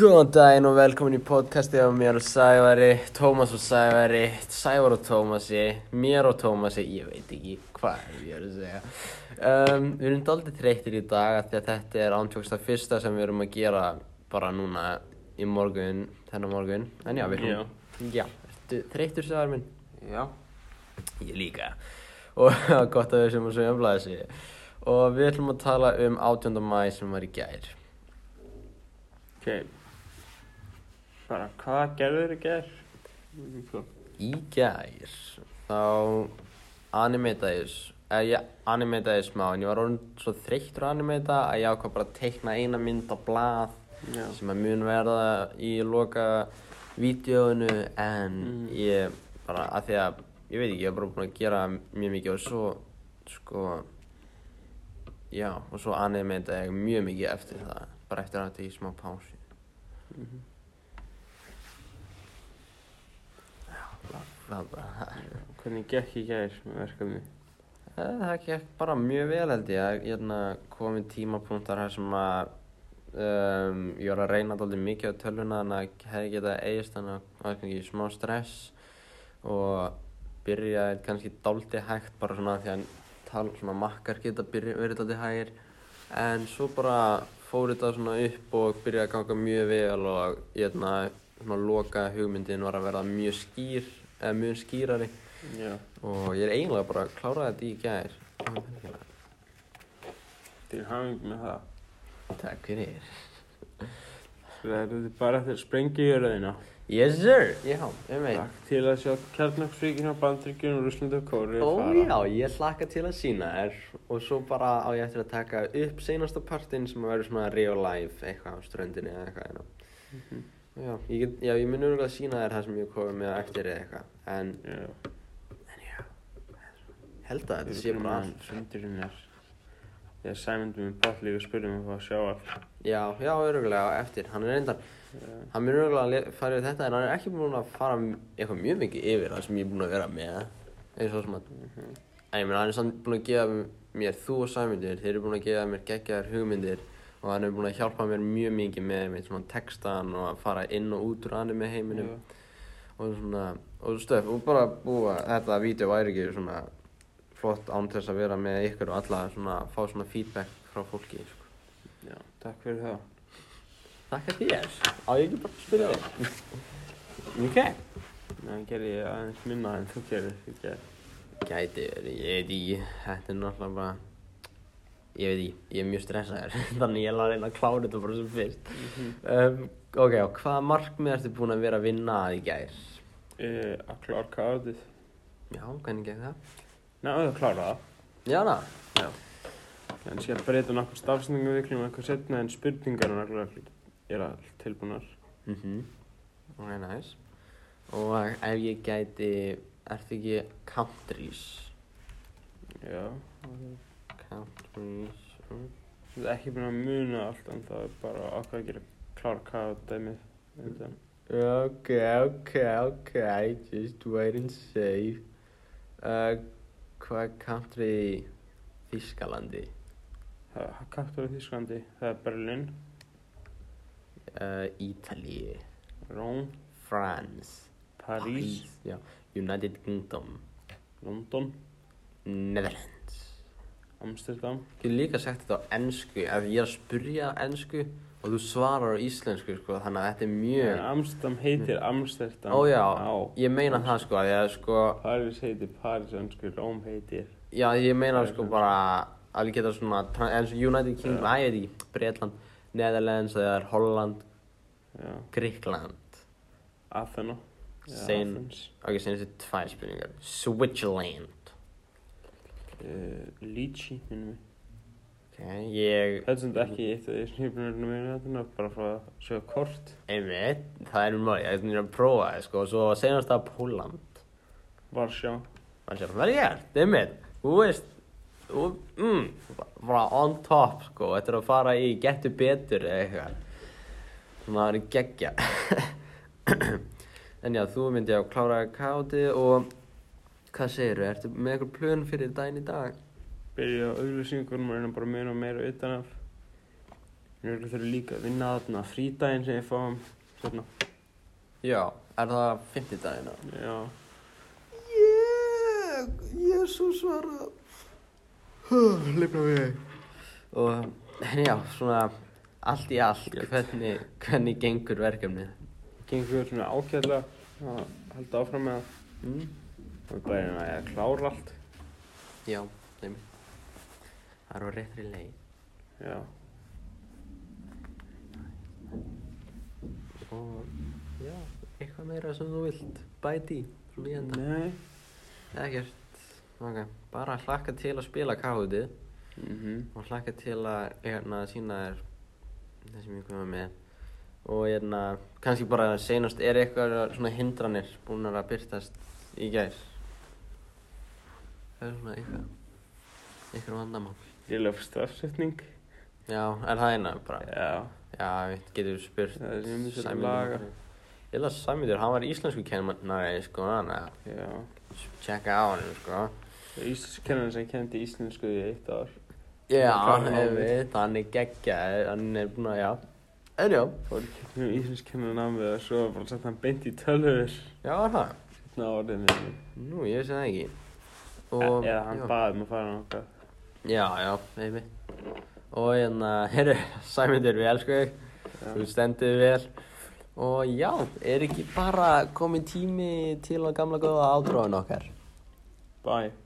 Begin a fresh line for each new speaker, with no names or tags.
Góðan daginn og velkomin í podcasti af mér og Sævari, Tómas og Sævari, Sævar og Tómasi, mér og Tómasi, ég veit ekki hvað ég er að segja. Um, við erum daldið treytir í dag af því að þetta er ántjóksta fyrsta sem við erum að gera bara núna í morgun, þennan morgun. En já, við erum, já, ertu treytur Sævar minn?
Já.
Ég líka. Og gott að við sem að sögja um blæsi. Og við ætlum að tala um 18. mæ sem var í gær.
Ok. Bara, hvað gerður í gær? Sko.
Í gær þá animetaðis eða ég animetaði smá en ég var orðin svo þreyttur að animeta að ég ákvað bara að teikna eina mynd á blað
Já.
sem að mun verða í loka vídeóinu en ég bara að því að ég veit ekki, ég var bara búin að gera mjög mikið og svo sko já og svo animetaði ég mjög mikið eftir það bara eftir að þetta í smá pási Já, það bara
Hvernig gekk í gær með verkefni?
Eh, Það gekk bara mjög vel held ég að hérna komin tímapunktar þar sem að um, ég var að reyna alltaf mikið á tölvuna þannig að hefði getað eigist þannig að var kannski smá stress og byrjaði kannski dálti hægt bara svona því að tal, svona makkar geta byrja, verið dálti hægir en svo bara fór þetta svona upp og byrjaði að ganga mjög vel og hérna svona loka hugmyndin var að verða mjög skýr eða mjög skýrari
Já.
og ég er eiginlega bara að klára þetta í gær
Til hafing með það.
Takk fyrir
Verður þið bara eftir að sprengja í jörðina.
Yes sir, já, um veit
Takk til að sjá kjarnöksvíkin á Bandryggjun og Rúslandi og Kóri
Ó já, ég hlakka til að sína þér og svo bara á ég eftir að taka upp seinasta partinn sem að vera svona real life eitthvað á ströndinni eða eitthvað mm já, ég get, já, ég mun örgulega að sína þér það sem ég komið með á eftir eða eitthvað en,
Já.
en já, held að þetta sé bara allt
Sundurinn er. Þegar Sæmundur minn ball líka spurði mig hvað að sjá allt.
Já, já, öruglega á eftir, hann er reyndar, hann er öruglega að le- fara yfir þetta en hann er ekki búinn að fara m- eitthvað mjög mikið yfir það sem ég er búinn að vera með eins og sem að,
Mhm.
en ég meina hann er samt búinn að gefa mér þú og sæmyndir, þeir eru búinn að gefa mér geggjaðar hugmyndir og hann er búinn að hjálpa mér mjög mikið með mitt svona textan og að fara inn og út úr anime heiminum og svona, og stöf, og bara búa þetta vídeo væri ekki svona flott án þess að vera með ykkur og alla svona, fá svona feedback frá fólki, sko.
Já. Takk fyrir það.
Þakka þér. Á ég ekki bara að spyrja þig. ok.
Það gerði ég aðeins minna en þú gerði í gær.
Gæti verið, ég veit ekki, þetta er náttúrulega bara, ég veit ekki, ég er mjög stressaður, þannig ég er að reyna að klára þetta bara sem fyrst. um, ok, og hvaða markmið ertu búin að vera að vinna að í gær?
Eh, Að klára káðið.
Já, hvernig gekk það?
Náðu að klára það.
Já, na.
Já. En sé að breyta nokkur stafsendingum við klíma eitthvað setna en spurningar og nákvæmlega er all tilbúnar.
Mhm. Ok, næs. Og ef ég gæti, ertu ekki countries?
Já.
Countries, ok.
Ég er ekki búin að muna allt en það er bara okkar að gera klára hvað dæmið undan.
Okay, okay, okay, just wait and see. Uh, hvað country Þískalandi?
Það er Kattur í Þísklandi, það er Berlin,
Uh, Ítalíu,
Róm,
France,
París,
já, United Kingdom,
London,
Netherlands.
Amsterdam.
Ég hef líka sagt þetta á ennsku, ef ég er að spurja ennsku og þú svarar á íslensku, sko, þannig að þetta er
En
mjög...
Amsterdam heitir Amsterdam.
Ó já,
Já.
ég meina það sko, því að sko,
París heitir París, önsku, Róm heitir.
Já, ég meina sko bara að ég geta svona, tra- eins og United Kingdom, að ég veit ekki, Breitland, Netherlands, eða er Holland,
Já.
Gríkland.
Athena.
Sein- Ok, sem þessi tvær spurningar. Switzerland.
Uh, Líci, minnum við.
Ok, ég,
Þetta er sem þetta ekki eitt af því sem ég er búin að vera með þetta, bara frá að sjá kort.
einmitt, það er mjög mörg, ég er að prófa það sko, og svo senast það Pólland.
Varsjá.
Man sér, vel gert, einmitt, þú veist, þú, mm, bara on top sko, þetta er að fara í getur betur eða eitthvað. Svona það er geggja. en já, þú myndi að klára káti og hvað segirðu, ertu með eitthvað plön fyrir daginn í dag?
Byrja á auglýsingunum og reyna bara meira og meira utan af. Mér örugglega þurfi líka að vinna þarna frídaginn sem ég um, hérna, fáum. Svona,
Já, er það 50 dagina?
já.
Yeah, Jésús var að Lifna við Og, en já, svona Allt í allt,
Gett.
hvernig, hvernig gengur verkefnið?
Gengur svona ágæðlega að halda áfram með það.
Mm?
Það er bara eina að klára allt.
Já, nefnir Það er á réttri leið
Já.
Og já, eitthvað meira sem þú vilt bæti í Svona í enda
Nei.
Ekkert Ok, bara hlakka til að spila káðið
Mhm.
og hlakka til að hérna, sína þér það sem ég koma með og hérna, kannski bara seinast er eitthvað svona hindranir búnar að byrtast í gær það er svona eitthvað eitthvað vandamál
Lélega strafsetning.
já, er það eina bara
Já.
já, við getum spurt
Það er sem við þurfum að
Sæmundur
laga.
Magnús. ég laði Sæmiður, hann var íslensku kennari sko, hann að
Já.
tjekka á hann sko
Það er íslenskennan sem kendi íslensku í eitt ár.
já,
Hann er klár á
ef við, hann er geggjaður, hann er búinn að, já en já,
Fór í gegnum íslenskennan að mig og svo bara sett hann beint í tölvur.
já, er það
Ná orðið minni.
Nú, ég sé það ekki.
Og, Eða hann
já.
baði um að fara nokkað.
Já, já, maybe. Og hérna, herru, Sæmundur, við elskum þig. sko. Þú stendur þig vel. Og já, er ekki bara komið tími til að gamla góða átróðan okkar?
Bye.